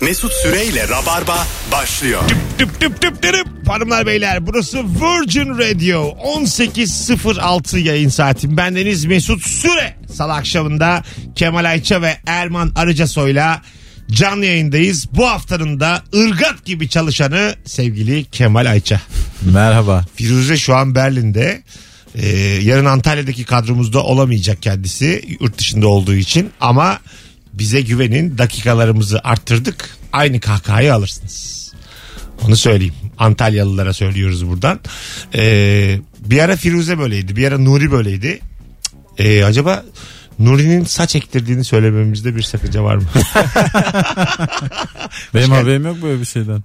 Mesut Süreyle Rabarba başlıyor. Düp düp düp dürüp. Hanımlar beyler burası Virgin Radio 18.06 yayın saati. Bendeniz Mesut Süre. Salı akşamında Kemal Ayça ve Erman Arıcasoy'la canlı yayındayız. Bu haftanın da ırgat gibi çalışanı sevgili Kemal Ayça. Merhaba. Firuze şu an Berlin'de. Ee, yarın Antalya'daki kadromuzda olamayacak kendisi yurt dışında olduğu için ama bize güvenin dakikalarımızı arttırdık aynı kahkahayı alırsınız. Onu söyleyeyim Antalyalılara söylüyoruz buradan. Ee, bir ara Firuze böyleydi bir ara Nuri böyleydi. Ee, acaba Nuri'nin saç ektirdiğini söylememizde bir sakınca var mı? Benim geldin. haberim yok böyle bir şeyden.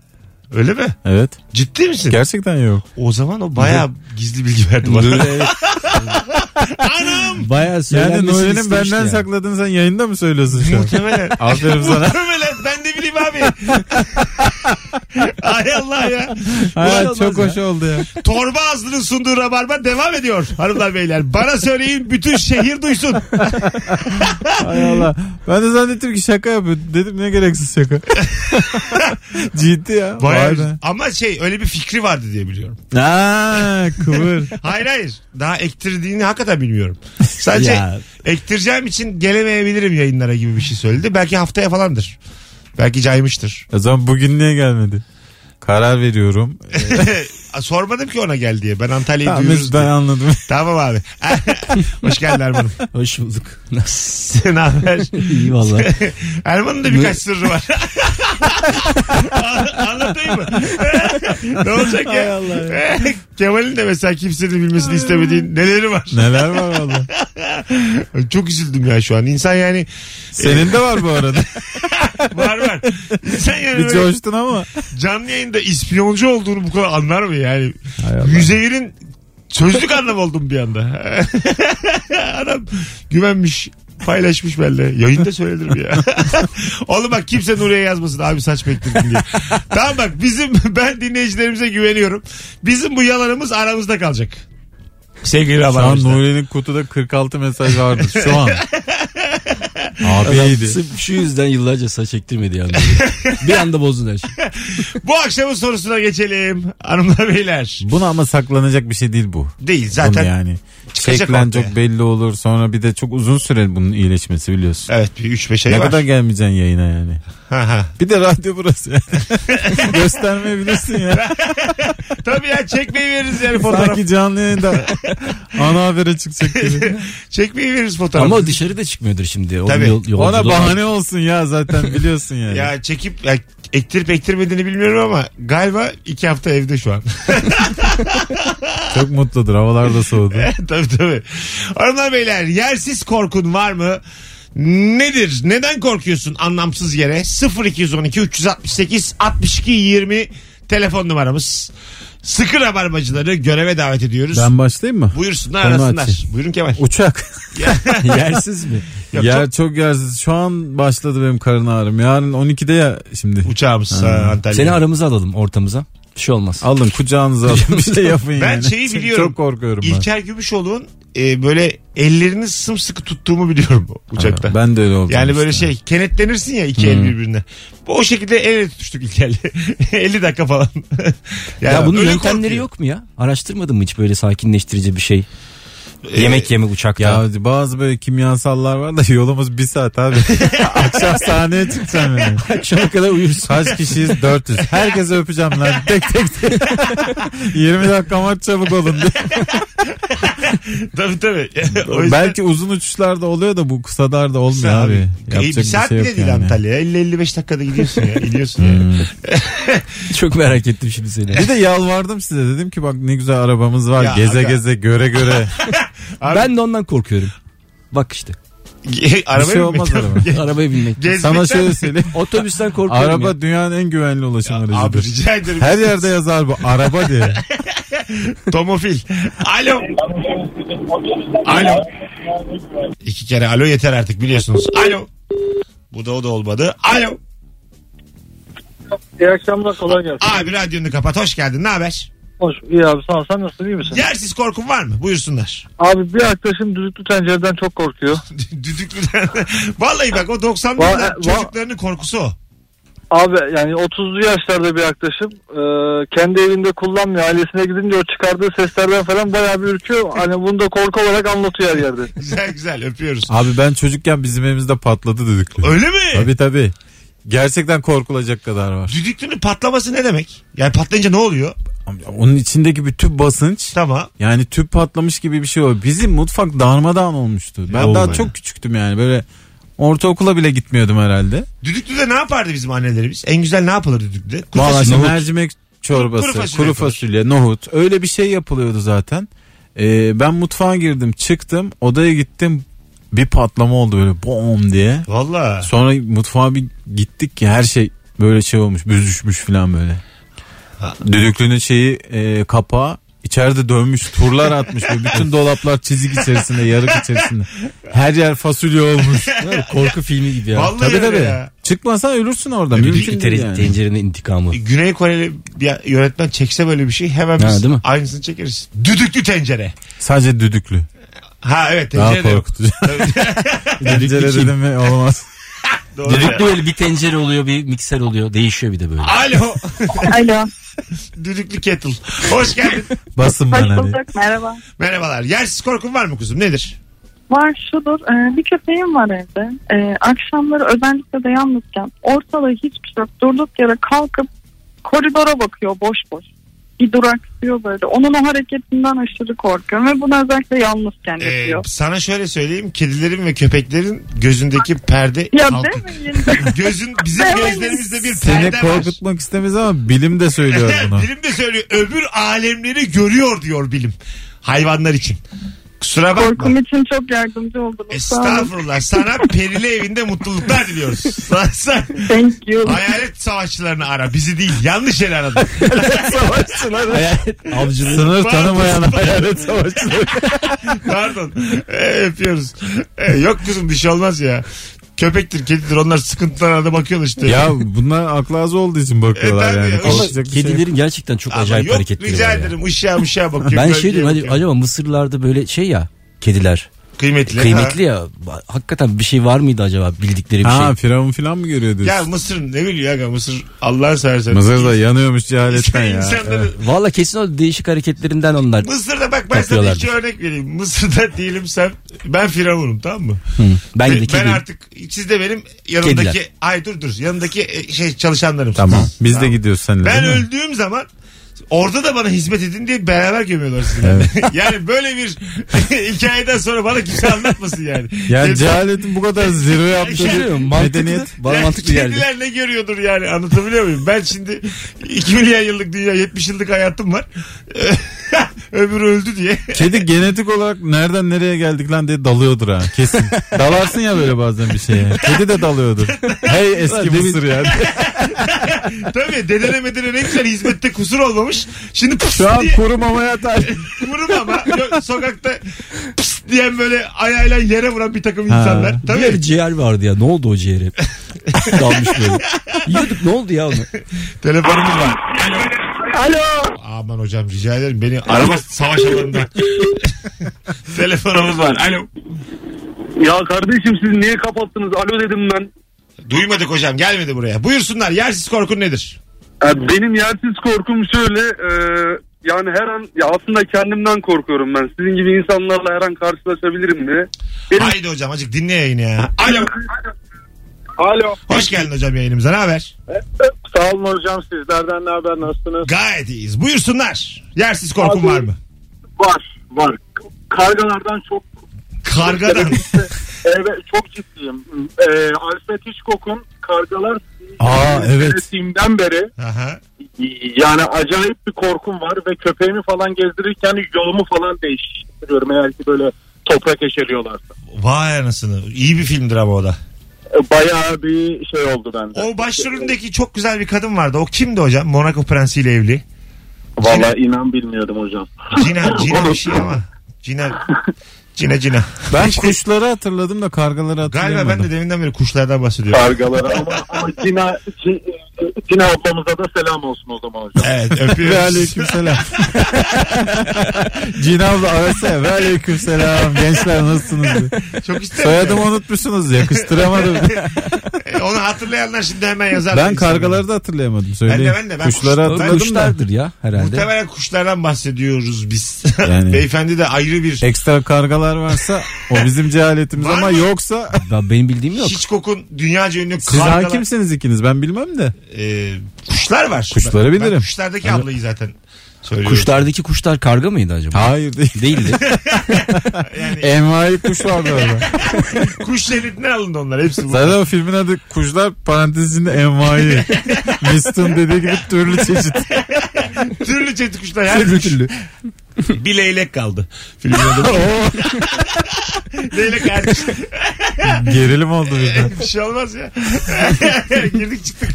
Öyle mi? Evet. Ciddi misin? Gerçekten yok. O zaman o bayağı gizli bilgi verdi bana. Anam! Bayağı yani söylenmesini Nuri'nin istemişti benden yani. sakladığını sen yayında mı söylüyorsun şu an? Muhtemelen. Aferin sana. Muhtemelen ben de bileyim abi. Ay Allah ya. Ha, olmaz çok ya. hoş oldu ya. Torba ağzının sunduğu rabarba devam ediyor hanımlar beyler. Bana söyleyin bütün şehir duysun. Hay Allah. Ben de zannettim ki şaka yapıyor. Dedim ne gereksiz şaka. Ciddi ya. Bayağı Vay be. Ama şey öyle bir fikri vardı diye biliyorum. Ha, kıvır. Hayır hayır. Daha ektirdiğini hakikaten bilmiyorum. Sadece Ya. ektireceğim için gelemeyebilirim yayınlara gibi bir şey söyledi. Belki haftaya falandır. Belki caymıştır. o zaman bugün niye gelmedi? Karar veriyorum. E, Sormadım ki ona gel diye. Ben Antalya'yı Tamam duyururuz Mesut diye. ben anladım. Tamam abi. Hoş geldin Erman'ım. Hoş bulduk. Nasıl? Ne haber? İyi valla. Erman'ın da birkaç sırrı var. A- Anlatayım mı? ne olacak Hay ya? Allah Kemal'in de mesela kimsenin bilmesini istemediği neleri var. Neler var valla. Çok üzüldüm ya şu an. İnsan yani Senin de var bu arada. var var. İnsan yani Bir böyle coştun ama. canlı yayında ispiyoncu olduğunu bu kadar anlar mı yani? Hay Allah. Müzevir'in sözlük anlamı oldum bir anda. Adam güvenmiş paylaşmış belli. Yayında söylenir mi ya? Oğlum bak kimse Nuri'ye yazmasın abi saç bekledim diye. tamam bak bizim ben dinleyicilerimize güveniyorum. Bizim bu yalanımız aramızda kalacak. Sevgili Şu an Rabarba'mızda. Nuri'nin kutuda 46 mesaj vardı şu an. Abi iyiydi. Sırf şu yüzden yıllarca saç ektirmedi yani. bir anda bozdun her şey. şeyi. Bu akşamın sorusuna geçelim. Hanımlar beyler. Bunu ama saklanacak bir şey değil bu. Değil Zaten zaten. yani. çıkacak Şeklen ortaya. çok belli olur. Sonra bir de çok uzun sürer bunun iyileşmesi biliyorsun. Evet bir 3-5 ay ne var. kadar gelmeyeceksin yayına yani. Ha, ha. Bir de radyo burası. yani. Göstermeyebilirsin ya. Tabii ya çekmeyi veririz yani fotoğraf. Sanki canlı yayında ana habere çıkacak gibi. çekmeyi veririz fotoğraf. Ama o dışarıda çıkmıyordur şimdi. Onun Tabii. yol- yolculuğu Ona var. bahane olsun ya zaten biliyorsun yani. Ya çekip ya ektirip ektirmediğini bilmiyorum ama galiba iki hafta evde şu an. Çok mutludur havalar da soğudu. tabii tabii. Hanımlar beyler yersiz korkun var mı? Nedir? Neden korkuyorsun anlamsız yere? 0212 368 62 20 telefon numaramız. Sıkı rabarbacıları göreve davet ediyoruz. Ben başlayayım mı? Buyursunlar Konu arasınlar. açayım. Buyurun Kemal. Uçak. Yersiz mi? Yok, Yer çok- çok... yersiz. Şu an başladı benim karın ağrım. Yarın 12'de ya şimdi. Uçağımız ha, Antalya'ya. Seni aramıza alalım ortamıza. Bir şey olmaz. Alın kucağınıza alın bir şey yapın yani. Ben şeyi Çünkü biliyorum. Çok korkuyorum ben. İlker Gümüşoğlu'nun e, böyle ellerini sımsıkı tuttuğumu biliyorum bu uçakta. Ha, Ben de öyle oldum. Yani böyle işte. şey kenetlenirsin ya iki Hmm. el birbirine. Bu o şekilde el ele tutuştuk İlker'le. 50 dakika falan. Yani ya bunun öyle yöntemleri korkuyor. yok mu ya? Araştırmadın mı hiç böyle sakinleştirici bir şey? Ee, Yemek yemek uçakta. Ya bazı böyle kimyasallar var da yolumuz bir saat abi. Akşam sahneye çıkacağım yani. Akşama kadar uyursun. Kaç kişiyiz? 400. Herkese öpeceğim lan. Tek tek tek. 20 dakika var çabuk olun diye. Tabii tabii. o yüzden Belki uzun uçuşlarda oluyor da bu kısalar da olmuyor Abi, abi. iyi, Yapacak bir saat şey bile yok değil yani. Hmm. Antalya'ya. 50-55 dakikada gidiyorsun ya. İliyorsun yani. Çok merak ettim şimdi seni. Bir de yalvardım size dedim ki bak ne güzel arabamız var Ya geze aga. geze göre göre. Abi- Ben de ondan korkuyorum. Bak işte. Arabaya Bir şey olmaz binmek- araba. Arabaya binmek. Gezmekten- Sana şöyle söyleyeyim. Otobüsten korkuyorum Araba ya. dünyanın en güvenli ulaşım Abi aracıdır. rica ederim. Her yerde yazar bu araba diye. Tomofil. Alo. Alo. İki kere alo yeter artık biliyorsunuz. Alo. Bu da o da olmadı. Alo. İyi akşamlar kolay gelsin. Abi radyonu kapat. Hoş geldin. Ne haber? Hoş, iyi abi sağ ol. Sen nasılsın iyi misin? Yersiz korkun var mı? Buyursunlar. Abi bir arkadaşım düdüklü tencereden çok korkuyor. Düdüklüden. Vallahi bak o 90'larda Va- va- çocuklarının korkusu o. Abi yani 30'lu yaşlarda bir arkadaşım. Ee, kendi evinde kullanmıyor. Ailesine gidince o çıkardığı seslerden falan bayağı bir ürküyor. Hani bunu da korku olarak anlatıyor her yerde. Güzel güzel öpüyoruz. Abi ben çocukken bizim evimizde patladı düdüklü. Öyle mi? Tabii tabii. Gerçekten korkulacak kadar var. Düdüklünün patlaması ne demek? Yani patlayınca ne oluyor? Onun içindeki bir tüp basınç Tamam. yani tüp patlamış gibi bir şey oldu. Bizim mutfak darmadağın olmuştu. Ben oldu daha ya? çok küçüktüm yani böyle ortaokula bile gitmiyordum herhalde. Düdüklüde ne yapardı bizim annelerimiz? En güzel ne yapılır düdüklüde? Kuru Valla fasulye. işte mercimek çorbası, Kuru kuru fasulye fasulye, yapılır. nohut öyle bir şey yapılıyordu zaten. Ee, ben mutfağa girdim çıktım odaya gittim bir patlama oldu böyle bom diye. Valla. Sonra mutfağa bir gittik ki her şey böyle şey olmuş büzüşmüş falan böyle. Ha. Düdüklünün şeyi e, kapağı içeride dönmüş turlar atmış. Böyle bütün dolaplar çizik içerisinde yarık içerisinde. Her yer fasulye olmuş. Korku filmi gibi ya. Vallahi tabii öyle tabii. ya. Çıkmasan ölürsün orada. Bir Mümkün tere- değil yani. tencerenin intikamı. E, Güney Koreli bir yönetmen çekse böyle bir şey hemen Ha, biz değil mi? aynısını çekeriz. Düdüklü tencere. Sadece düdüklü. Ha evet Daha tencere de yok. korkutucu. Tencere kim? dedim mi olmaz. Doğru. Düdüklü böyle bir tencere oluyor bir mikser oluyor. Değişiyor bir de böyle. Alo. Alo. Düdüklü kettle. Hoş geldin. Basın Hoş ben hani. bulduk. Merhaba. Merhabalar. Yersiz korkun var mı kuzum? Nedir? Var şudur. e, Bir köpeğim var evde. E, Akşamları özellikle de yalnızken ortada hiçbir şey yok. Durduk yere kalkıp koridora bakıyor boş boş. Bir duraksıyor böyle. Onun o hareketinden aşırı korkuyorum ve bunu özellikle yalnızken Ee, yapıyor. sana şöyle söyleyeyim. Kedilerin ve köpeklerin gözündeki perde Ya kalkık. demeyin. Gözün bizim Demeyin. gözlerimizde bir Seni perde var. korkutmak istemez ama bilim de söylüyor bunu. bilim de söylüyor. Öbür alemleri görüyor diyor bilim. Hayvanlar için. Kusura bakma. Korkum için çok yardımcı oldunuz. Sağ olun. Estağfurullah. Sana perili evinde mutluluklar diliyoruz. Sen, sen Thank you. hayalet savaşçılarını ara. Bizi değil. Yanlış yere aradın. Sınır tanımayan hayalet savaşçıları. Pardon. Ee, öpüyoruz. Ee, yok kızım bir şey olmaz ya. Köpektir, kedidir. Onlar sıkıntılarına da bakıyorlar işte. ya bunlar aklı az olduğu için bakıyorlar E, ben de yani. ya. Konuşacak bir şey yok. Kedilerin gerçekten çok Ama acayip yok, hareketleri rica var ya. ederim. Uşağı uşağı bakıyor. Ben gölgeye şey diyorum hani bakıyor. acaba Mısırlarda böyle şey ya kediler Kıymetli. kıymetli ya Ba- hakikaten bir şey var mıydı acaba bildikleri bir Ha şey. firavun filan mı görüyor Ha. Ya diyorsun? Mısır ne biliyor aga Mısır Allah'ın seversen. Mısır da yanıyormuş cehaletten ya. İnsanları- Evet. Valla kesin o değişik hareketlerinden onlar. Mısır'da bak ben sana Yapıyorlardır. iki örnek vereyim. Mısır'da değilim sen ben Firavun'um tamam mı? Ben de ben, kediyim. artık siz de benim yanımdaki Kediler. ay dur dur yanımdaki e, şey çalışanlarım. Tamam. Biz de gidiyoruz seninle. Ben değil mi? öldüğüm zaman orada da bana hizmet edin diye beraber gömüyorlar sizi. yani böyle bir hikayeden sonra bana kimse anlatmasın yani. Yani Kedi- cehaletin bu kadar zirve Şey, Bilmiyorum, yaptığı Şey mantıklı. medeniyet. Bana Yani mantıklı geldi. Kediler ne görüyordur yani anlatabiliyor muyum? Ben şimdi 2 milyar yıllık dünya 70 yıllık hayatım var. Öbürü öldü diye. Kedi genetik olarak nereden nereye geldik lan diye dalıyordur ha kesin. Dalarsın ya böyle bazen bir şeye. Kedi de dalıyordur. Hey eski Mısır ya. Tabii dedene medene ne güzel hizmette kusur olmamış. Şimdi pıs Şu an diye kuru mamaya atar. vurum ama Yok, sokakta pıs diyen böyle ayağıyla yere vuran bir takım insanlar. Bir Tabii yer ciğer vardı ya ne oldu o ciğeri? Dalmış böyle. Yiyorduk ne oldu ya onu? telefonumuz var. Alo. Aman hocam rica ederim beni arama savaş alanında. telefonumuz var. Alo. Ya kardeşim siz niye kapattınız? Alo dedim ben. Duymadık hocam gelmedi buraya. Buyursunlar yersiz korkun nedir? Ya E, benim yersiz korkum şöyle. e, yani her an ya aslında kendimden korkuyorum ben. Sizin gibi insanlarla her an karşılaşabilirim diye. Benim... Haydi hocam azıcık dinle yayını ya. Alo. Alo. E, Hoş geldin hocam yayınımıza. Ne haber? Sağ olun hocam sizlerden ne haber nasılsınız? Gayet iyiyiz. Buyursunlar. Yersiz korkun Abi- var mı? Var var. Kargalardan çok Kargadan. evet çok ciddiyim. Ee, Alfred Hitchcock'un Kargalar Aa, evet. filminden beri Aha. yani acayip bir korkum var ve köpeğimi falan gezdirirken yolumu falan değiştiriyorum eğer ki böyle toprak eşeliyorlarsa. Vay anasını. İyi bir filmdir ama o da. Ee, Bayağı bir şey oldu bende. O başrolündeki çok güzel bir kadın vardı. O kimdi hocam? Monaco prensiyle evli. Valla inan bilmiyordum hocam. Cina, Cina bir şey ama. Cina. Cina Cina. Ben kuşları hatırladım da kargaları hatırlayamadım. Galiba ben de deminden beri kuşlardan bahsediyorum. Kargalara ama, ama Cina, Ci- Cina ablamıza da selam olsun o zaman hocam. Evet Ve öpüyoruz. aleyküm selam. abla arasa ya, ve aleyküm selam. Gençler nasılsınız? diye. çok isterim. Soyadımı unutmuşsunuz yakıştıramadım. Onu hatırlayanlar şimdi hemen yazar. Ben kargaları da hatırlayamadım söyleyeyim. Ben de, ben de, ben Kuşları kuş- hatırladım da. Kuşlardır ya herhalde. Muhtemelen kuşlardan bahsediyoruz biz. Yani. E, Beyefendi de ayrı bir Ekstra kargalar varsa o bizim cehaletimiz Var ama mı? yoksa Ben, benim bildiğim yok. hiç kokun dünyaca ünlü siz kargalar. hakimsiniz ikiniz ben bilmem de. Ee, kuşlar var. Kuşları Ben- ben bilirim. kuşlardaki ablayı zaten söylüyorum. Kuşlardaki kuşlar karga mıydı acaba? Hayır değil. Değildi. Yani Envai kuş vardı orada. kuş şeridinden alındı onlar hepsi. bu. Zaten o filmin adı kuşlar parantez içinde envai. Mist'in dediği gibi türlü çeşit. Türlü çeşit kuşlar. Her kuş. Bir leylek kaldı. Filmin adı. leylek her kuş. Gerilim oldu birden. Bir şey olmaz ya. Girdik çıktık.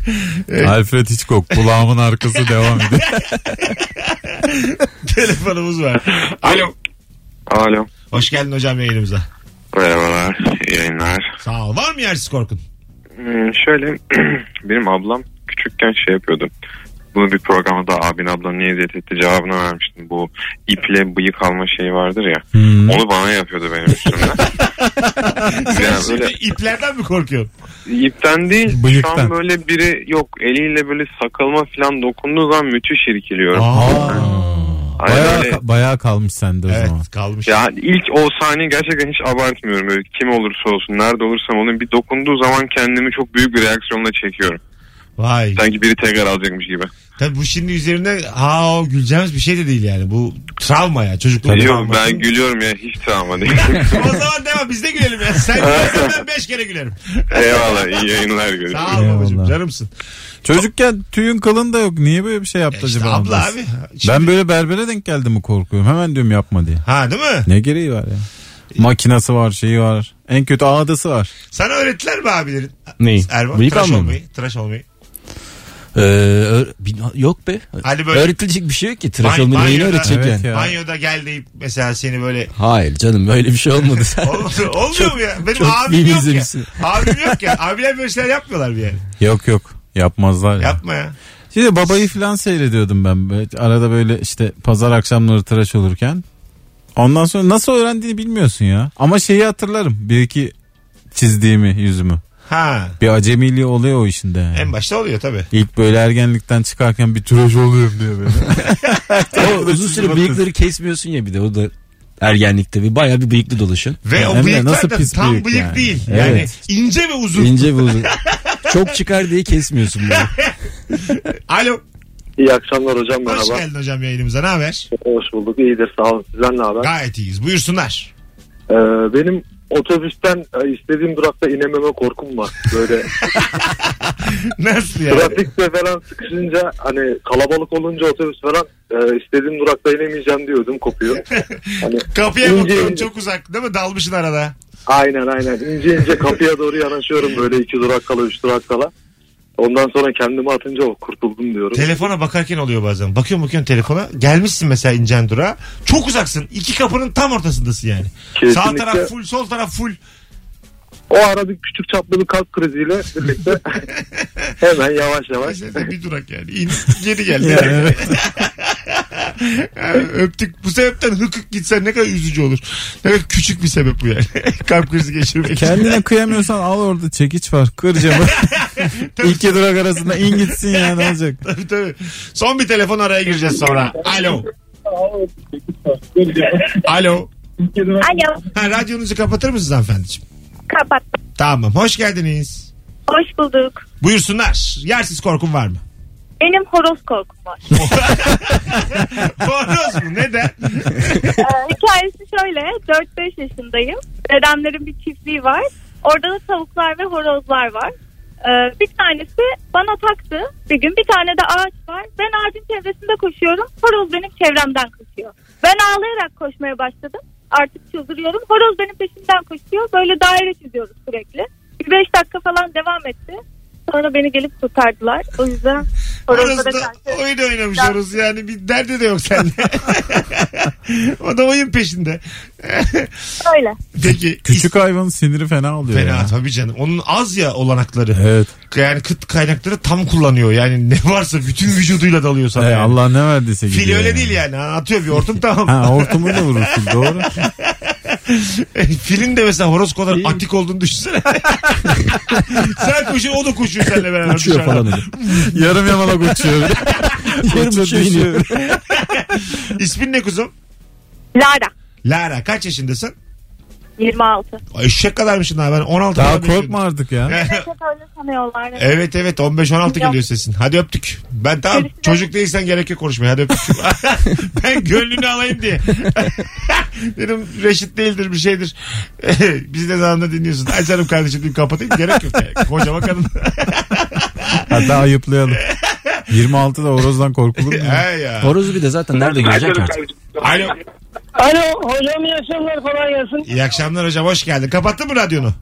Alfred Hitchcock kulağımın arkası devam ediyor. Telefonumuz var. Alo. Alo. Hoş geldin hocam yayınımıza. Merhabalar. iyi Yayınlar. Sağ ol. Var mı yersiz korkun? Hmm, şöyle benim ablam küçükken şey yapıyordu. Bunu bir programda abin ablan niye eziyet etti cevabını vermiştim. Bu iple bıyık alma şeyi vardır ya. Hmm. Onu bana yapıyordu benim üstümde. yani Şimdi böyle iplerden mi korkuyorsun? ipten değil Bıyıktan. şu an böyle biri yok eliyle böyle sakalıma falan dokunduğu zaman müthiş irkiliyorum. Hani Bayağı, böyle- bayağı kalmış sende o zaman. Evet kalmış. Ya ilk o sahne gerçekten hiç abartmıyorum. Böyle kim olursa olsun, nerede olursam olayım bir dokunduğu zaman kendimi çok büyük bir reaksiyonla çekiyorum. Vay. Sanki biri tekrar alacakmış gibi. Tabii bu şimdi üzerine ha o güleceğimiz bir şey de değil yani. Bu travma ya çocukluk Yok travması. ben gülüyorum ya hiç travma değil. O zaman devam biz de gülelim ya. Sen gülersen ben beş kere gülerim. Eyvallah iyi yayınlar görüşürüz. Sağ ol babacığım Eyvallah. canımsın. Çocukken tüyün kalın da yok. Niye böyle bir şey yaptı Ya işte acaba? abla ondan? abi. Ben böyle berbere denk geldim mi korkuyorum. Hemen diyorum yapma diye. Ha değil mi? Ne gereği var ya? Makinası var, şeyi var. En kötü ağdası var. Sana öğrettiler mi abilerin? Neyi? Erman Bıyık tıraş alma mı? olmayı. Tıraş olmayı. Ee, ö- bin- yok be. Hani böyle- Öğretilecek bir şey yok ki. Tıraş Ban- olmayı neyini banyoda- öğretecek Evet yani? ya. Banyoda gel deyip mesela seni böyle Hayır canım böyle bir şey olmadı. Olmuyor, olmuyor mu ya? Benim çok abim yok ya. minimizemişsin. Abim yok ya. Abiler böyle şeyler yapmıyorlar bir yani. Yok yok. Yapmazlar ya. Yapma ya. Şimdi Şey babayı falan seyrediyordum ben. Böyle Arada böyle işte pazar akşamları tıraş olurken. Ondan sonra nasıl öğrendiğini bilmiyorsun ya. Ama şeyi hatırlarım. Bir iki çizdiğimi yüzümü. Ha. Bir acemiliği oluyor o işinde. yani. En başta oluyor tabii. İlk böyle ergenlikten çıkarken bir tıraş oluyorum diyor böyle. o uzun süre bıyıkları kesmiyorsun ya bir de o da ergenlikte bir bayağı bir bıyıklı dolaşın. Ve Hem o de bıyıklar nasıl da pis tam bıyık, bıyık yani. değil. Evet. Yani ince ve uzun. İnce ve uzun. Çok çıkar diye kesmiyorsun bunu. Alo. İyi akşamlar Hoş hocam merhaba. geldin hocam yayınımıza. Ne haber? Hoş bulduk iyidir sağ olun. Sizden ne haber? Gayet iyiyiz. Buyursunlar. Ee, benim otobüsten e, istediğim durakta inememe korkum var. Böyle Nasıl yani? trafikte falan sıkışınca hani kalabalık olunca otobüs falan e, istediğim durakta inemeyeceğim diyordum kopuyor. Hani Kapıya İnce bakıyorum ince. çok uzak değil mi? Dalmışsın arada. aynen aynen ince ince kapıya doğru yanaşıyorum böyle iki durak kala üç durak kala. Ondan sonra kendimi atınca oh, kurtuldum diyorum. Telefona bakarken oluyor bazen. Bakıyorum bakıyorum telefona. Gelmişsin mesela incen durağa. Çok uzaksın. İki kapının tam ortasındasın yani. Sağ Kesinlikle. taraf full, sol taraf full. O ara bir küçük çaplı bir kalp kriziyle birlikte hemen yavaş yavaş. Mesela bir durak yani. İn, geri geldi. Yani. Ha, Öptük. Bu sebepten hıkık gitsen ne kadar üzücü olur. Ne kadar küçük bir sebep bu yani. Kalp krizi geçirmek. Kendine kıyamıyorsan al orada çekiç var. Kır camı. İki durak arasında in gitsin yani ne olacak. Tabii tabii. Son bir telefon araya gireceğiz sonra. Alo. Alo. Alo. Ha, radyonuzu kapatır mısınız hanımefendiciğim? Kapat. Tamam. Hoş geldiniz. Hoş bulduk. Buyursunlar. Yersiz korkum var mı? Benim horoz korkum var. Horoz mu? Neden? Ee, hikayesi şöyle. 4-5 yaşındayım. Dedemlerin bir çiftliği var. Orada da tavuklar ve horozlar var. Ee, bir tanesi bana taktı. Bir gün bir tane de ağaç var. Ben ağacın çevresinde koşuyorum. Horoz benim çevremden koşuyor. Ben ağlayarak koşmaya başladım. Artık çıldırıyorum. Horoz benim peşimden koşuyor. Böyle daire çiziyoruz sürekli. Bir 5 dakika falan devam etti. Sonra beni gelip kurtardılar. O yüzden horozlara Horozda karşı... oyun oynamış horoz yani bir derdi de yok sende. o da oyun peşinde. Öyle. Peki Küçük hayvanın siniri fena oluyor Fena ya. tabii canım. Onun az ya olanakları. Evet. Yani kıt kaynakları tam kullanıyor. Yani ne varsa bütün vücuduyla dalıyor sana. Ee, yani. Allah ne verdiyse Fil gidiyor öyle yani. değil yani. Ha, Atıyor bir hortum tamam. Ha hortumu da vurur fil doğru. E, Filin de mesela horoz kadar atik olduğunu düşünsene. Sen koşuyor o da koşuyor seninle beraber. Uçuyor dışarıda. falan öyle. Yarım yamalak uçuyor. Yarım uçuyor iniyor. İsmin ne kuzum? Lara Lara kaç yaşındasın? 26. Ay, Eşek kadarmışsın daha ben 16 Daha falan bekliyordum. korkma artık ya. Çok öyle sanıyorlar. Evet evet 15-16 Yok. geliyor sesin. Hadi öptük. Ben tamam Görüşürüz. çocuk değilsen gerek yok konuşmaya. Hadi öptük. ben gönlünü alayım diye. Dedim reşit değildir bir şeydir. Biz de zamanında dinliyorsun. Ay canım kardeşim deyip kapatayım. Gerek yok. Yani. Kocaman kadın. Hatta ayıplayalım. 26'da horozdan korkulur mu? ya? He ya. Horozu bir de zaten nerede görecek artık. Alo. Alo hocam iyi akşamlar kolay gelsin. İyi akşamlar hocam. Hoş geldin. Kapattın mı radyonu?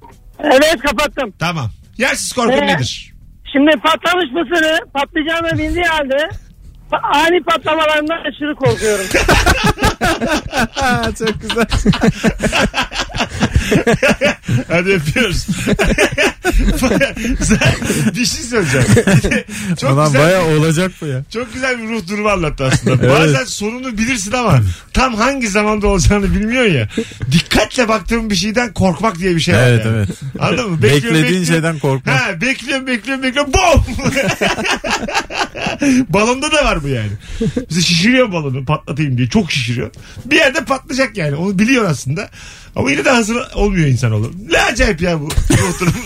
Evet kapattım. Tamam. Yersiz korkun Ee, nedir? Şimdi patlamış mısırı patlayacağına bindiği halde pa- ani patlamalarından aşırı korkuyorum. Çok güzel. Hadi öpüyoruz. bir şey söyleyeceğim. Çok Ulan güzel. bayağı olacak bu ya. Çok güzel bir ruh durumu anlattı aslında. Evet. Bazen sonunu bilirsin ama tam hangi zamanda olacağını bilmiyorsun ya. Dikkatle baktığın bir şeyden korkmak diye bir şey var. Evet, yani. evet. Anladın mı? Beklediğin şeyden korkma. Ha, bekliyorum bekliyorum bekliyorum. Bom! Balonda da var bu yani. Bize şişiriyor balonu patlatayım diye. Çok şişiriyor. Bir yerde patlayacak yani. Onu biliyor aslında. Ama yine de hazır olmuyor insan oğlum. Ne acayip ya bu ruh durumu.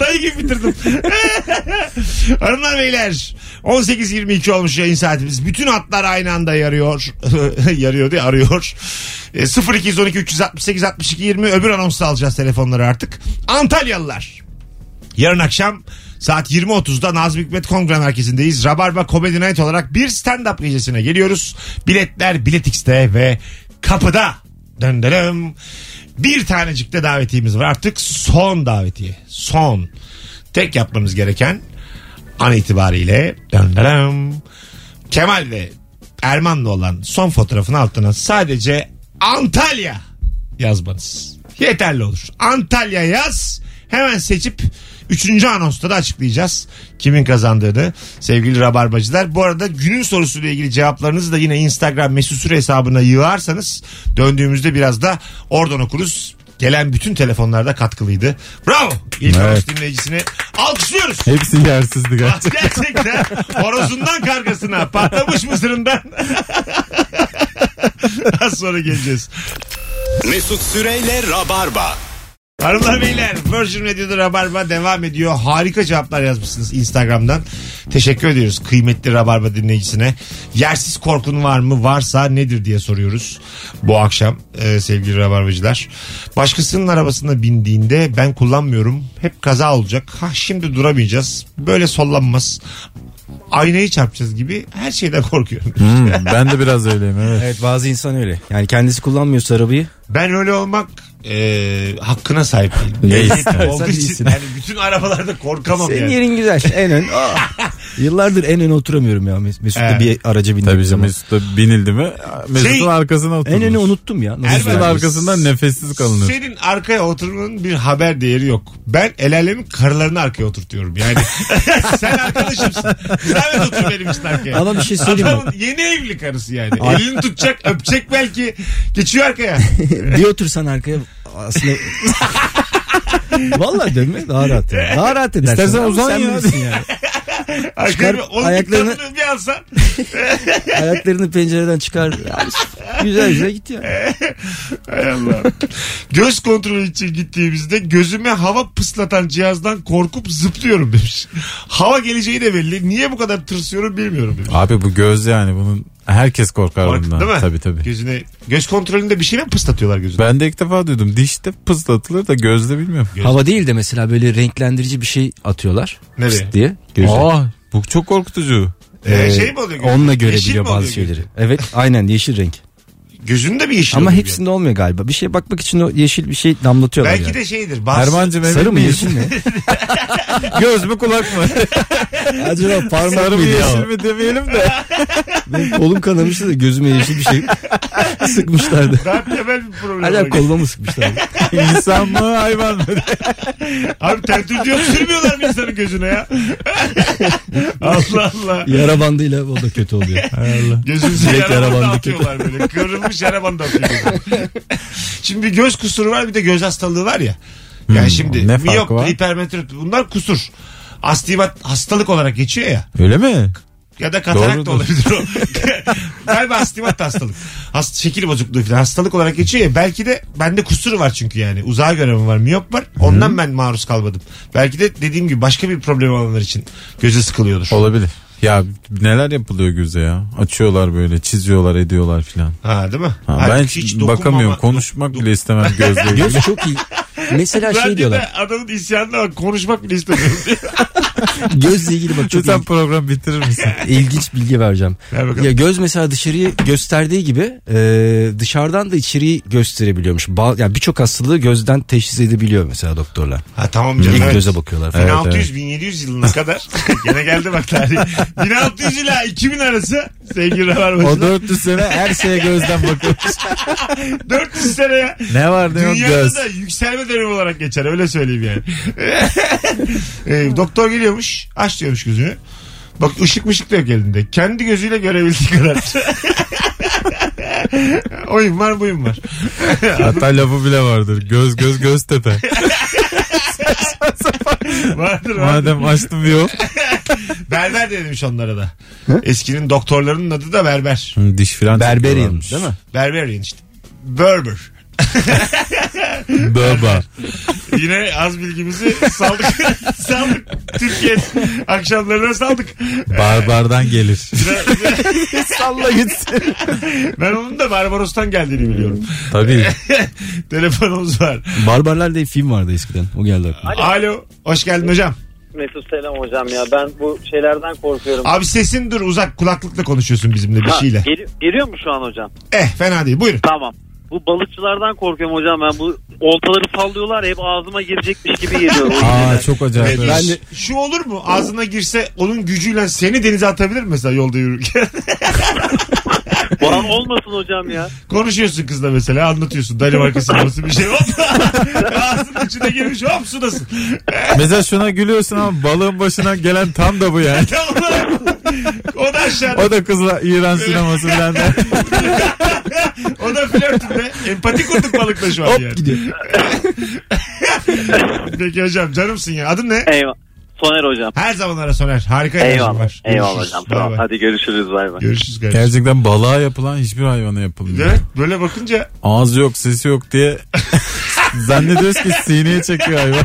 Dayı gibi bitirdim. Hanımlar beyler 18.22 olmuş yayın saatimiz. Bütün hatlar aynı anda yarıyor. yarıyor diye arıyor. E, 0212 368 62 20 öbür anonsu alacağız telefonları artık. Antalyalılar. Yarın akşam saat 20.30'da Nazım Hikmet Kongre Merkezi'ndeyiz. Rabarba Comedy Night olarak bir stand-up gecesine geliyoruz. Biletler Biletix'te ve kapıda. Döndürüm. Bir tanecik de davetiyemiz var. Artık son davetiye. Son. Tek yapmamız gereken an itibariyle döndürüm. Kemal ve Erman'la olan son fotoğrafın altına sadece Antalya yazmanız. Yeterli olur. Antalya yaz. Hemen seçip 3. anonsta da açıklayacağız kimin kazandığını sevgili rabarbacılar. Bu arada günün sorusuyla ilgili cevaplarınızı da yine Instagram mesut süre hesabına yığarsanız döndüğümüzde biraz da oradan okuruz. Gelen bütün telefonlarda katkılıydı. Bravo. İlk Evet. anons dinleyicisini alkışlıyoruz. Hepsi yersizdi gerçekten. Gerçekten horozundan kargasına patlamış mısırından. Az sonra geleceğiz. Mesut Süreyle Rabarba. Hanımlar beyler Virgin Radio'da Rabarba devam ediyor. Harika cevaplar yazmışsınız Instagram'dan. Teşekkür ediyoruz kıymetli Rabarba dinleyicisine. Yersiz korkun var mı? Varsa nedir diye soruyoruz bu akşam e, sevgili Rabarbacılar. Başkasının arabasına bindiğinde ben kullanmıyorum. Hep kaza olacak. Ha şimdi duramayacağız. Böyle sollanmaz. Aynayı çarpacağız gibi her şeyden korkuyorum. Hmm, ben de biraz öyleyim evet. Evet bazı insan öyle. Yani kendisi kullanmıyorsa arabayı. Ben öyle olmak e, hakkına sahip değilim. Değilsin. Ehliyetim olduğu Sen için değilsin. yani bütün arabalarda korkamam Senin yani. yerin güzel. En ön. Aa. Yıllardır en öne oturamıyorum ya. Mes- Mesut'la Evet. bir araca Tabii bindiğim bizim zaman. Mesut'a binildi mi Mesut'un Şey- arkasına oturmuş. En öne unuttum ya. Nasıl Elbette. Mesut'un yani? arkasından nefessiz kalınır. Senin arkaya oturmanın bir haber değeri yok. Ben el alemin karılarını arkaya oturtuyorum. Yani sen arkadaşımsın. Sen de otur benim için arkaya. Ama bir şey söyleyeyim mi? Adamın yeni evli karısı yani. Elini tutacak, öpecek belki. Geçiyor arkaya. bir otursan arkaya aslında... Vallahi dönme daha rahat. ya. Daha rahat edersin. İstersen Ama uzan sen ya. bilirsin yani. Arkaya Çıkar bir, onun ayaklarını- ayaklarını... bir alsan. Ayaklarını pencereden çıkar. Yani güzel güzel git ya. Hay Allah. Göz kontrolü için gittiğimizde gözüme hava pıslatan cihazdan korkup zıplıyorum demiş. Hava geleceği de belli. Niye bu kadar tırsıyorum bilmiyorum demiş. Abi bu göz yani bunun herkes korkar Kork- bundan. değil mi? Tabii tabii. Gözüne, göz kontrolünde bir şey mi pıslatıyorlar gözüne? Ben de ilk defa duydum. Dişte pıslatılır da gözde bilmiyorum. Hava değil de mesela böyle renklendirici bir şey atıyorlar. Nereye? Pıst diye. Gözle. Aa, bu çok korkutucu. Ee, Ee, şey mi oluyor? gözü? Onunla Yeşil görebiliyor mi oluyor bazı gözü? şeyleri. Evet aynen yeşil renk. Gözünde bir yeşil Ama oluyor hepsinde olmuyor galiba. Bir şeye bakmak için o yeşil bir şey damlatıyorlar. Belki yani. de şeydir. Bazı... Erman'cım emin Sarı mı miyiz? yeşil mi? Göz mü kulak mı? Acaba parmak Sarı mı mıydı yeşil ya? mi demeyelim de. Benim kolum kanamıştı da gözüme yeşil bir şey. Sıkmışlardı. Daha temel bir problem. Hala var. koluma mı sıkmışlar? İnsan mı hayvan mı? Abi tertür diyor sürmüyorlar mı insanın gözüne ya? Allah Allah. Yara bandıyla o da kötü oluyor. Gözümüzü Direkt yarabanı yarabandı dağıtıyorlar böyle. Kırılmış yarabanı dağıtıyor. gözüne. şimdi bir göz kusuru var bir de göz hastalığı var ya. Yani Hmm, şimdi ne farkı miyop, var? hipermetrop bunlar kusur. Astigmat hastalık olarak geçiyor ya. Öyle mi? Ya da katarak da Doğrudur. olabilir o. Galiba astigmat da hastalık. Hast şekil bozukluğu falan hastalık olarak geçiyor ya. Belki de bende kusuru var çünkü yani. Uzağa göremem var, miyop var. Ondan ben maruz kalmadım. Belki de dediğim gibi başka bir problem olanlar için göze sıkılıyordur. Olabilir. Ya neler yapılıyor göze ya? Açıyorlar böyle çiziyorlar ediyorlar filan. Ha değil mi? Ha, Halbuki ben dokunmama- bakamıyorum. Konuşmak bile istemem gözle ilgili. Göz çok iyi. Mesela Ben şey bir diyorlar. de adamın isyanına bak konuşmak bile istemiyorum diye. Gözle ilgili bak çok Lütfen program bitirir misin? il- ilginç bilgi vereceğim. Ver bakalım. Ya göz mesela dışarıyı gösterdiği gibi e, dışarıdan da içeriği gösterebiliyormuş. Ba- ya birçok hastalığı gözden teşhis edebiliyor mesela doktorlar. Ha tamam canım. İlk evet. göze bakıyorlar falan. 1600 1700 yılına kadar gene geldi bak tarih. 1600 ila 2000 arası sevgili O Rabarbacılar. 400 sene her şeye gözden bakıyoruz. 400 sene ya. ne var ne yok Dünyada göz. da yükselme dönemi olarak geçer öyle söyleyeyim yani. E, doktor geliyormuş aç diyormuş gözünü. Bak ışık mışık da yok elinde. Kendi gözüyle görebildiği kadar. Oyun var buyum var. Hatta lafı bile vardır. Göz göz göz tepe. Vardır vardır. Madem açtım diyor. Berber de demiş onlara da. Eskinin doktorlarının adı da berber. Diş filan Berberian değil mi? Berberian işte. Berber. Baba. Yine az bilgimizi saldık. saldık. Türkiye akşamlarına saldık. Barbardan gelir. Salla gitsin. Ben onun da Barbaros'tan geldiğini biliyorum. Tabii. Telefonumuz var. Barbarlar diye film vardı eskiden. O geldi aklıma. Alo. Hoş geldin hocam. Mesut selam hocam ya ben bu şeylerden korkuyorum. Abi sesin dur uzak kulaklıkla konuşuyorsun bizimle bir Ha, şeyle. geli- geliyor mu şu an hocam? Eh fena değil buyurun. Tamam. Bu balıkçılardan korkuyorum hocam ben bu oltaları sallıyorlar hep ağzıma girecekmiş gibi geliyor. Aa çok acayip. Ben Şu olur mu? Ağzına girse onun gücüyle seni denize atabilir mi mesela yolda yürürken? Bana olmasın hocam ya. Konuşuyorsun kızla mesela anlatıyorsun. Danimarka sineması bir şey. Hop. Ağzının içine girmiş hop sudasın. Mesela şuna gülüyorsun ama balığın başına gelen tam da bu yani. Tam olarak o da aşağıda. O da kızla İran sinemasından da. O da flörtünde. Empati kurduk balıkla şu an yani. gidiyor. Peki hocam canımsın ya. Adın ne? Eyvah. Soner hocam. Her zaman ara soner. Harika enerjim Eyvallah. var. Eyvallah Görüşürüz. hocam. Bay Tamam. bay. Hadi görüşürüz. Bay bay. Görüşürüz kardeşim. Gerçekten balığa yapılan hiçbir hayvana yapılmıyor. Evet böyle bakınca Ağzı yok sesi yok diye zannediyoruz ki sineye çekiyor hayvan.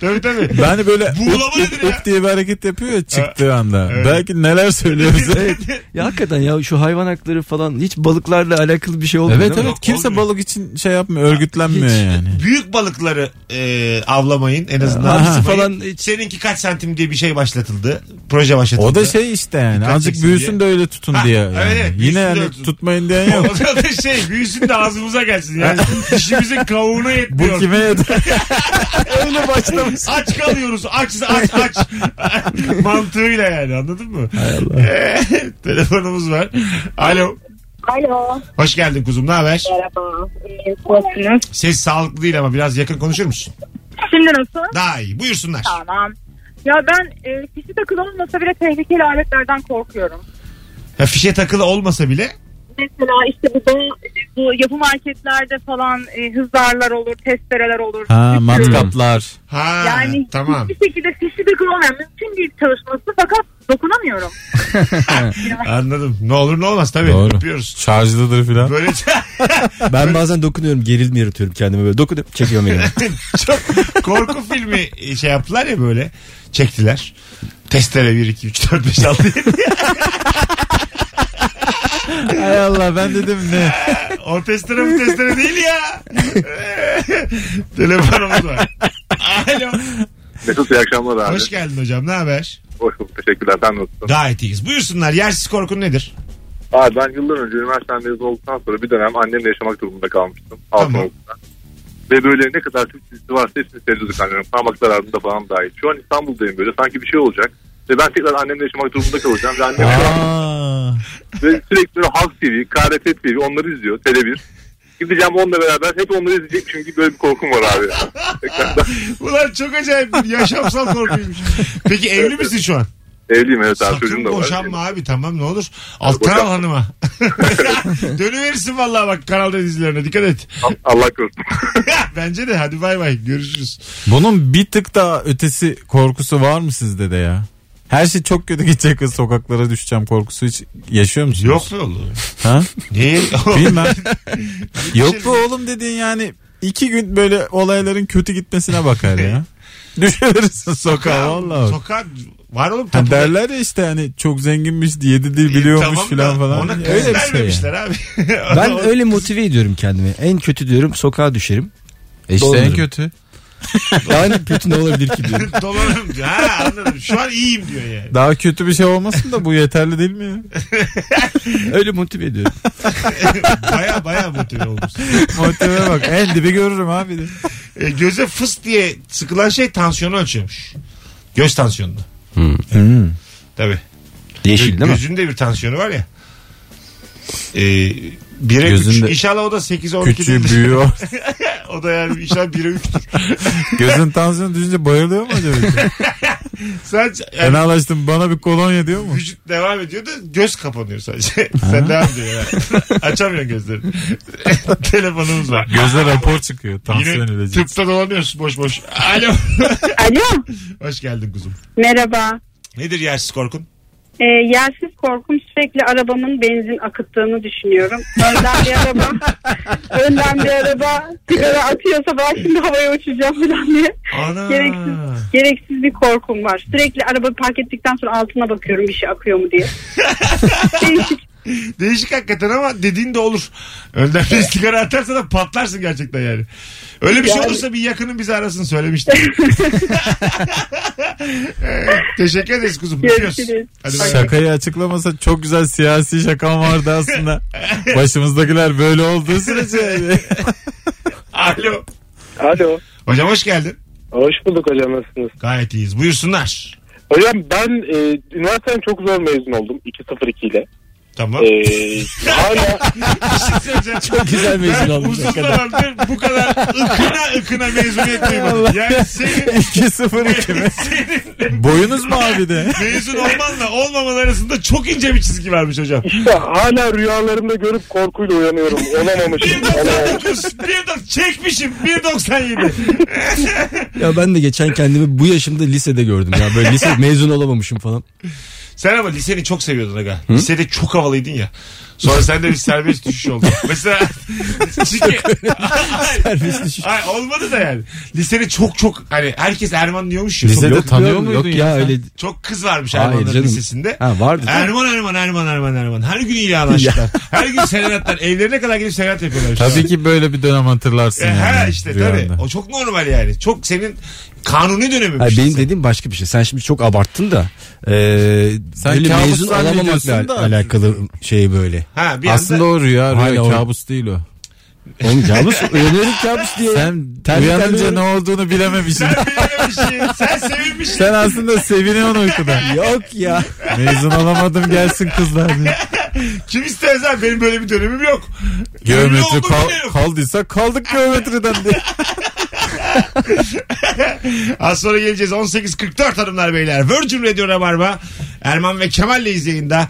tabii tabii. Ben de böyle Buğulama up, up, nedir ya? up diye bir hareket yapıyor ya çıktığı anda. Evet. Belki neler söylüyoruz. evet Ya hakikaten ya şu hayvan hakları falan hiç balıklarla alakalı bir şey olmuyor evet değil mi? Yok, kimse olmuyor. balık için şey yapmıyor örgütlenmiyor Hiç. yani. Büyük balıkları e, avlamayın en azından. Aha. Falan Falan Seninki kaç santim diye bir şey başlatıldı. Proje başlatıldı. O da şey işte yani Dikkat azıcık çeksin büyüsün de öyle tutun Ha, diye. yani. evet, evet, büyüsün Yine de yani öyle tutun. tutmayın diyen yok. O da şey büyüsün de ağzımıza gelsin yani. İşimizin kavuğuna Bu yetmiyor. kime yeter? öyle başlamış. Aç kalıyoruz. Aç aç aç. Mantığıyla yani anladın mı? telefonumuz var. Alo. Alo. Hoş geldin kuzum. Ne haber? Merhaba. İyiyim. Nasılsınız? Ses sağlıklı değil ama biraz yakın konuşur musun? Şimdi nasıl? Daha iyi. Buyursunlar. Tamam. Ya ben e, kişi takılı olmasa bile tehlikeli aletlerden korkuyorum. Ya fişe takılı olmasa bile Mesela işte bu, bu, bu yapı marketlerde falan e, hızarlar olur, testereler olur. Ha Çünkü matkaplar. ha Yani tamam. hiçbir şekilde kişi takılı olmayan mümkün değil çalışması fakat dokunamıyorum. Anladım. Ne olur ne olmaz tabii. Doğru. Öpüyoruz. Şarjlıdır filan. Böyle Ben bazen dokunuyorum gerilme yaratıyorum kendime böyle dokunuyorum çekiyorum elimi. çok korku filmi şey yaptılar ya böyle. Çektiler. Testere 1 2 3 4 5 6 7. Hay Allah ben dedim ne? O testere bu testere değil ya. Telefonumuz var. Alo. Mesut iyi akşamlar abi. Hoş geldin hocam. Ne haber? Hoş bulduk. Teşekkürler. Sen nasılsın? Gayet iyiyiz. Buyursunlar. Yersiz korkun nedir? Abi ben yıllar önce üniversiteden mezun olduktan sonra bir dönem annemle yaşamak durumunda kalmıştım. Altın Tamam. okulda. Ve böyle ne kadar Türk dizisi varsa hepsini seyrediyorduk annemin. Parmak zararında falan dahil. Şu an İstanbul'dayım böyle. Sanki bir şey olacak. Ve ben tekrar annemle yaşamak durumunda kalacağım. Ve annem Aa, Ve sürekli böyle Halk TV, KRT TV onları izliyor. Tele1. Gideceğim onunla beraber hep onları izleyecek çünkü böyle bir korkum var abi. Ulan çok acayip bir yaşamsal korkuymuş. Peki evli misin şu an? Evliyim evet abi Sakın çocuğum da var. boşanma abi tamam ne olur. Alttan al boşanma. hanıma. Dönüverirsin vallahi bak kanalda dizilerine dikkat et. Allah korusun. Bence de hadi bay bay görüşürüz. Bunun bir tık daha ötesi korkusu var mı sizde de ya? Her şey çok kötü gidecek kız sokaklara düşeceğim korkusu hiç yaşıyor musunuz? Yok mu oğlum? Ha? Niye? Bilmem. Yok bu oğlum dediğin yani iki gün böyle olayların kötü gitmesine bakar ya. Düşebilirsin sokağa valla. Sokak var oğlum Ha tapuda. derler ya işte hani çok zenginmiş yedi dil biliyormuş Tamam da filan falan. Ona kız Öyle bir şey vermemişler abi. Ben öyle motive ediyorum kendimi. En kötü diyorum sokağa düşerim. yani. İşte en Dolanırım. kötü. Yani kötü ne olabilir ki diyorum. Dolanırım diyor. Ha anladım. Şu an iyiyim diyor yani. Daha kötü bir şey olmasın da bu yeterli değil mi ya? Öyle motive ediyorum. Baya baya motive olmuşsun. Motive bak en dibi görürüm abi. de. E, göze fıs diye sıkılan şey tansiyonu ölçüyormuş. Göz tansiyonunu. Hmm. Tabii. Yeşil değil mi? Gözünde bir tansiyonu var ya. E, bire Gözünde- üç. İnşallah o da 8 12 Küçüğü büyüyor. o da yani inşallah bire 3'tür. Gözün tansiyonu düşünce bayılıyor mu acaba? Sadece yani Fenalaştım bana bir kolonya diyor mu? vücut devam ediyor da göz kapanıyor sadece. Sen devam ediyor yani. Açamıyorsun gözlerini. Telefonumuz var. Gözde rapor çıkıyor tansiyon Yine ilacı. tıpta dolanıyorsun boş boş. Alo. Alo. Hoş geldin kuzum. Merhaba. Nedir yersiz korkun? E, Ee, yersiz korkum sürekli arabamın benzin akıttığını düşünüyorum. Önden bir araba, önden bir araba sigara atıyorsa ben şimdi havaya uçacağım falan diye. Ana. Gereksiz, gereksiz bir korkum var. Sürekli araba park ettikten sonra altına bakıyorum bir şey akıyor mu diye. Değişik. Değişik hakikaten ama dediğin de olur. Önden bir sigara atarsa da patlarsın gerçekten yani. Öyle bir şey Yani- olursa bir yakının bizi arasın söylemiştim. Ee, Teşekkür ederiz kuzum. Öpüyoruz. Görüşürüz. Hadi bay bay. Şakayı açıklamasa çok güzel siyasi şakam vardı aslında. Başımızdakiler böyle olduğu sürece. Alo. Alo. Hocam hoş geldin. Hoş bulduk hocam nasılsınız? Gayet iyiyiz. Buyursunlar. Hocam ben e, üniversiteden çok zor mezun oldum 2.02 ile. Tamam. E, hala Çok güzel mezun oldun Uzun ne kadar. zamandır bu kadar ıkına ıkına mezuniyet duymadım. Yani senin, 2-0-2 mi? senin Boyunuz mu abi de? mezun olmanla olmaman arasında çok ince bir çizgi varmış hocam. işte hala rüyalarımda görüp korkuyla uyanıyorum. Olamamışım. olamamışım. 1.99 1.90 çekmişim 1.97 Ya ben de geçen kendimi bu yaşımda lisede gördüm ya. Böyle lise mezun olamamışım falan. Sen ama liseni çok seviyordun aga. Lisede çok havalıydın ya. Sonra sende bir serbest düşüş oldu. Mesela çünkü Serbest düşüş. Ay, olmadı da yani. Lisede çok çok hani herkes Erman diyormuş ya. Lisede Çok, tanıyor Yok, muydun Yok ya ya sen? öyle. çok kız varmış Hayır Ermanların canım. lisesinde. Ha vardı. tabii. Erman Erman Erman Erman Erman. Her gün ilan aşklar. Her gün serenatlar. Evlerine kadar gelip serenat yapıyorlar. Tabii ki böyle bir dönem hatırlarsın E, yani. ha işte rüyanda. tabii. O çok normal yani. Çok senin kanuni dönemin. Hayır, benim dediğim başka bir şey. Sen şimdi çok abarttın da. Ee, Sen böyle kabus mezun olamamakla zannediyorsun da- alakalı şey böyle. Ha, bir anda... Aslında o rüya, Hala rüya o- kabus değil o. Oğlum kabus uyanıyorum kabus diye. Sen Terli uyanınca terli- ne olduğunu bilememişsin. Sen beğenmişsin. Sen sevinmişsin. Sen aslında seviniyorsun uykuda. Yok ya. Mezun olamadım gelsin kızlar diye. Kim isterse abi, benim böyle bir dönemim yok. Ünlü Geometri olduğum kal- bile yok. kaldıysa kaldık geometriden diye. Az sonra geleceğiz. 18.44 hanımlar beyler. Virgin Radio Rabarba. Erman ve Kemal'leyiz yayında.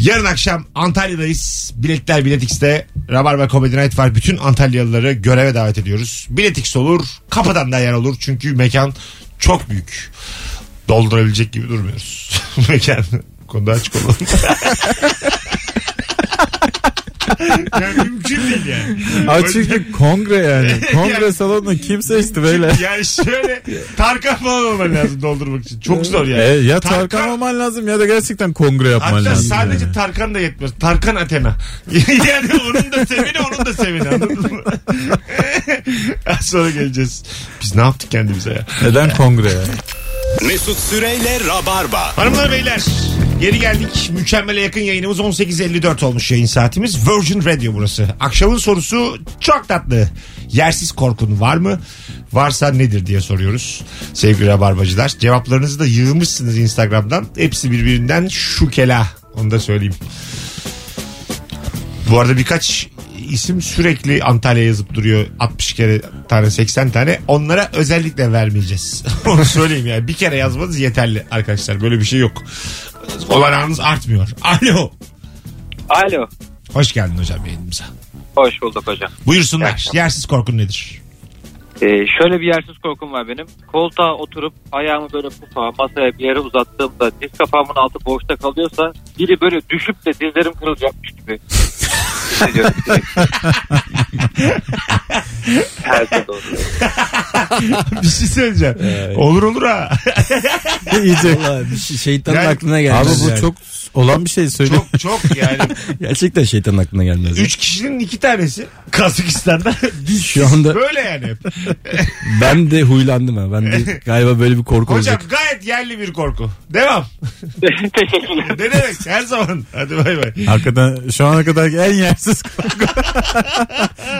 Yarın akşam Antalya'dayız. Biletler Bilet X'te. Rabarba Comedy Night var. Bütün Antalyalıları göreve davet ediyoruz. Bilet X olur. Kapıdan da yer olur. Çünkü mekan çok büyük. Doldurabilecek gibi durmuyoruz. mekan Bu konuda açık olalım. yani mümkün değil yani. Abi çünkü kongre yani. Kongre salonunu kim seçti böyle? Yani şöyle Tarkan falan olman lazım doldurmak için. Çok zor yani. E, ya Tarkan olman lazım ya da gerçekten kongre yapman Hatta lazım. sadece yani. Tarkan da yetmez. Tarkan Athena. yani onun da sevini onun da sevini anladın mı? Az sonra geleceğiz. Biz ne yaptık kendimize ya? Neden kongre ya? Mesut Süreyle Rabarba. Hanımlar beyler geri geldik. Mükemmele yakın yayınımız 18.54 olmuş yayın saatimiz. Virgin Radio burası. Akşamın sorusu çok tatlı. Yersiz korkun var mı? Varsa nedir diye soruyoruz sevgili rabarbacılar. Cevaplarınızı da yığmışsınız Instagram'dan. Hepsi birbirinden şukela Onu da söyleyeyim. Bu arada birkaç isim sürekli Antalya yazıp duruyor 60 kere tane 80 tane onlara özellikle vermeyeceğiz onu söyleyeyim yani bir kere yazmanız yeterli arkadaşlar böyle bir şey yok olanağınız artmıyor alo Alo. hoş geldin hocam yayınımıza Hoş bulduk hocam. buyursunlar yersiz korkun nedir Ee, şöyle bir yersiz korkum var benim. Koltuğa oturup ayağımı böyle pufa masaya bir yere uzattığımda diz kapağımın altı boşta kalıyorsa biri böyle düşüp de dizlerim kırılacakmış gibi. hissediyorum. Her şey doğru. bir şey söyleyeceğim olur olur ha İyice. Vallahi bir şey- şeytanın Yani- aklına Abi gelmez. bu yani. çok olan bir şey söyle. çok çok yani gerçekten şeytanın aklına gelmez. üç kişinin iki tanesi Kazakistan'da Şu anda böyle yani hep. ben de huylandım ha. Ben de galiba böyle bir korku hocam olacak. gayet yerli bir korku devam ne demek her zaman hadi bay bay Hakikaten şu ana kadar en yersiz korku.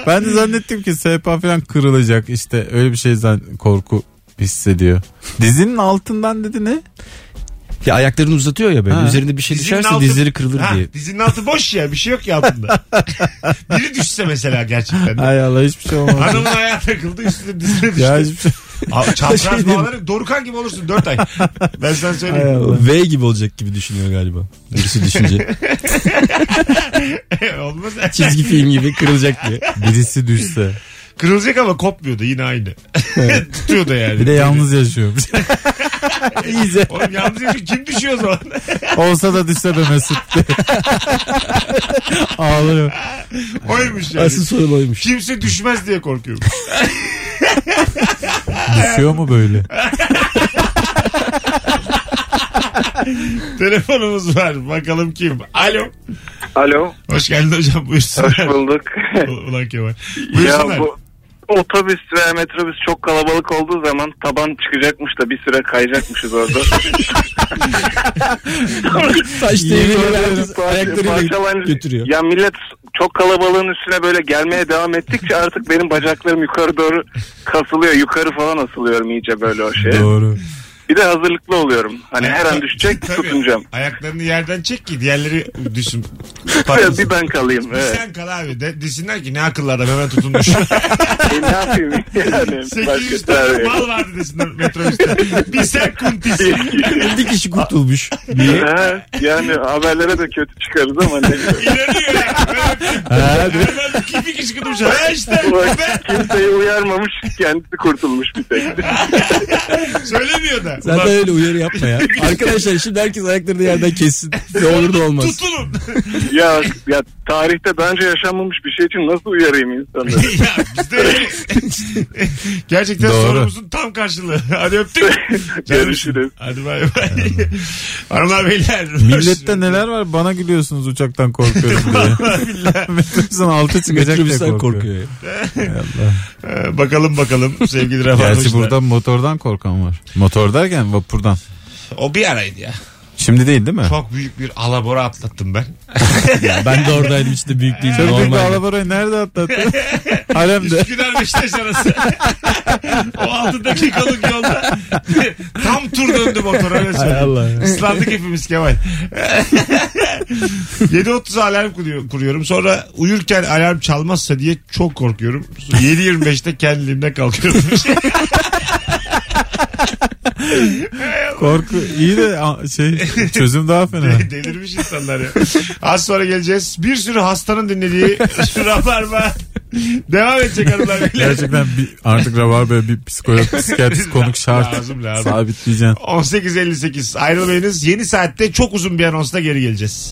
ben de zannettim ki sehpa falan kırılacak. İşte öyle bir şeyden korku hissediyor. Dizinin altından dedi ne? Ya ayaklarını uzatıyor ya böyle. Ha. Üzerinde bir şey Dizinin düşerse altı- dizleri kırılır Ha, diye. Dizinin altı boş ya bir şey yok ya altında. Biri düşse mesela gerçekten. de. Hay Allah hiçbir şey olmadı. Hanımın ayağı takıldı üstüne dizine düştü. ya hiçbir şey. Aa, Çapraz Şey diyeyim. bağları Dorukan gibi olursun 4 ay. Ben sana Hay söyleyeyim. Allah. V gibi olacak gibi düşünüyor galiba. Birisi düşünce. Olmaz. Çizgi film gibi kırılacak diye. Birisi düşse. Kırılacak ama kopmuyordu yine aynı. Tutuyordu yani. Bir de yalnız yaşıyormuş. İyice. Oğlum yalnız yaşıyor. Kim düşüyor o zaman? Olsa da düşse be Mesut. Ağlıyor. Oymuş yani. Asıl sorun oymuş. Kimse düşmez diye korkuyorum. Düşüyor mu böyle? Telefonumuz var. Bakalım kim? Alo. Alo. Hoş geldin hocam. Hoş Buyursunlar. bulduk. Ulan Kemal. ya Buyursunlar. bu otobüs ve metrobüs çok kalabalık olduğu zaman taban çıkacakmış da bir süre kayacakmışız orada. Taş né? devrini É herkes ayaklarıyla Parçalan- götürüyor. Ya millet çok kalabalığın üstüne böyle gelmeye devam ettikçe artık benim bacaklarım yukarı doğru kasılıyor. Yukarı falan asılıyorum iyice böyle o şeye. Doğru. Bir de hazırlıklı oluyorum. Hani her an düşecek Tabii. tutunacağım. Ayaklarını yerden çek ki diğerleri düşsün. Evet, bir ben kalayım. Evet. Sen kal abi. De, desinler ki ne akıllı adam hemen tutunmuş. E, ne yapayım yani? 800 Başka tane çare yok. mal vardı desinler metrobüste. bir sen kuntis. Bir kişi kurtulmuş. Ha, yani haberlere de kötü çıkarız ama ne bileyim. İnanıyor ya. Ha, Hemen, hemen kipi kişi kutmuş. Ha işte. Bak, Kimseyi uyarmamış kendisi kurtulmuş bir tek. Söylemiyor da. Zaten Ulan, öyle uyarı yapma ya. Arkadaşlar şimdi herkes ayaklarını yerden kessin. Ne olur da olmaz. Tutulun. ya, ya tarihte daha önce yaşanmamış bir şey için nasıl uyarayım insanları? ya bizde öyle. Gerçekten Doğru. sorumuzun tam karşılığı. Hadi öptük. Canım. Görüşürüz. Hadi bay bay. Hanımlar beyler. Millette neler var bana gülüyorsunuz uçaktan korkuyorum diye. Metrobüsün altı çıkacak diye Metrobüsten korkuyor. korkuyor. ya. Ee, bakalım bakalım sevgili Gerçi Rabarbaşlar. burada motordan korkan var. Motor derken vapurdan. O bir araydı ya. Şimdi değil değil mi? Çok büyük bir alabora atlattım ben. Ya ben de oradaydım işte büyük değil. Çok büyük bir normal. alabarayı nerede atlattın? Haremde. Üsküdar Beşiktaş arası. o 6 dakikalık yolda. Tam tur döndü motor öyle söyleyeyim. Allah. Islandık hepimiz Kemal. 7.30 alarm kuruyor- kuruyorum. Sonra uyurken alarm çalmazsa diye çok korkuyorum. 7.25'te kendiliğimden kalkıyorum. Şey, Korku iyi de a- şey çözüm daha fena. Delirmiş insanlar ya. Az sonra geleceğiz. Bir sürü hastanın dinlediği Rabarba devam edecek hanımlar. beyler. Gerçekten bir, artık Rabarba'ya bir psikolog, psikiyatrist konuk şart. Lazım, lazım. Sabitleyeceksin. 18.58 ayrılmayınız. Yeni saatte çok uzun bir anonsla geri geleceğiz.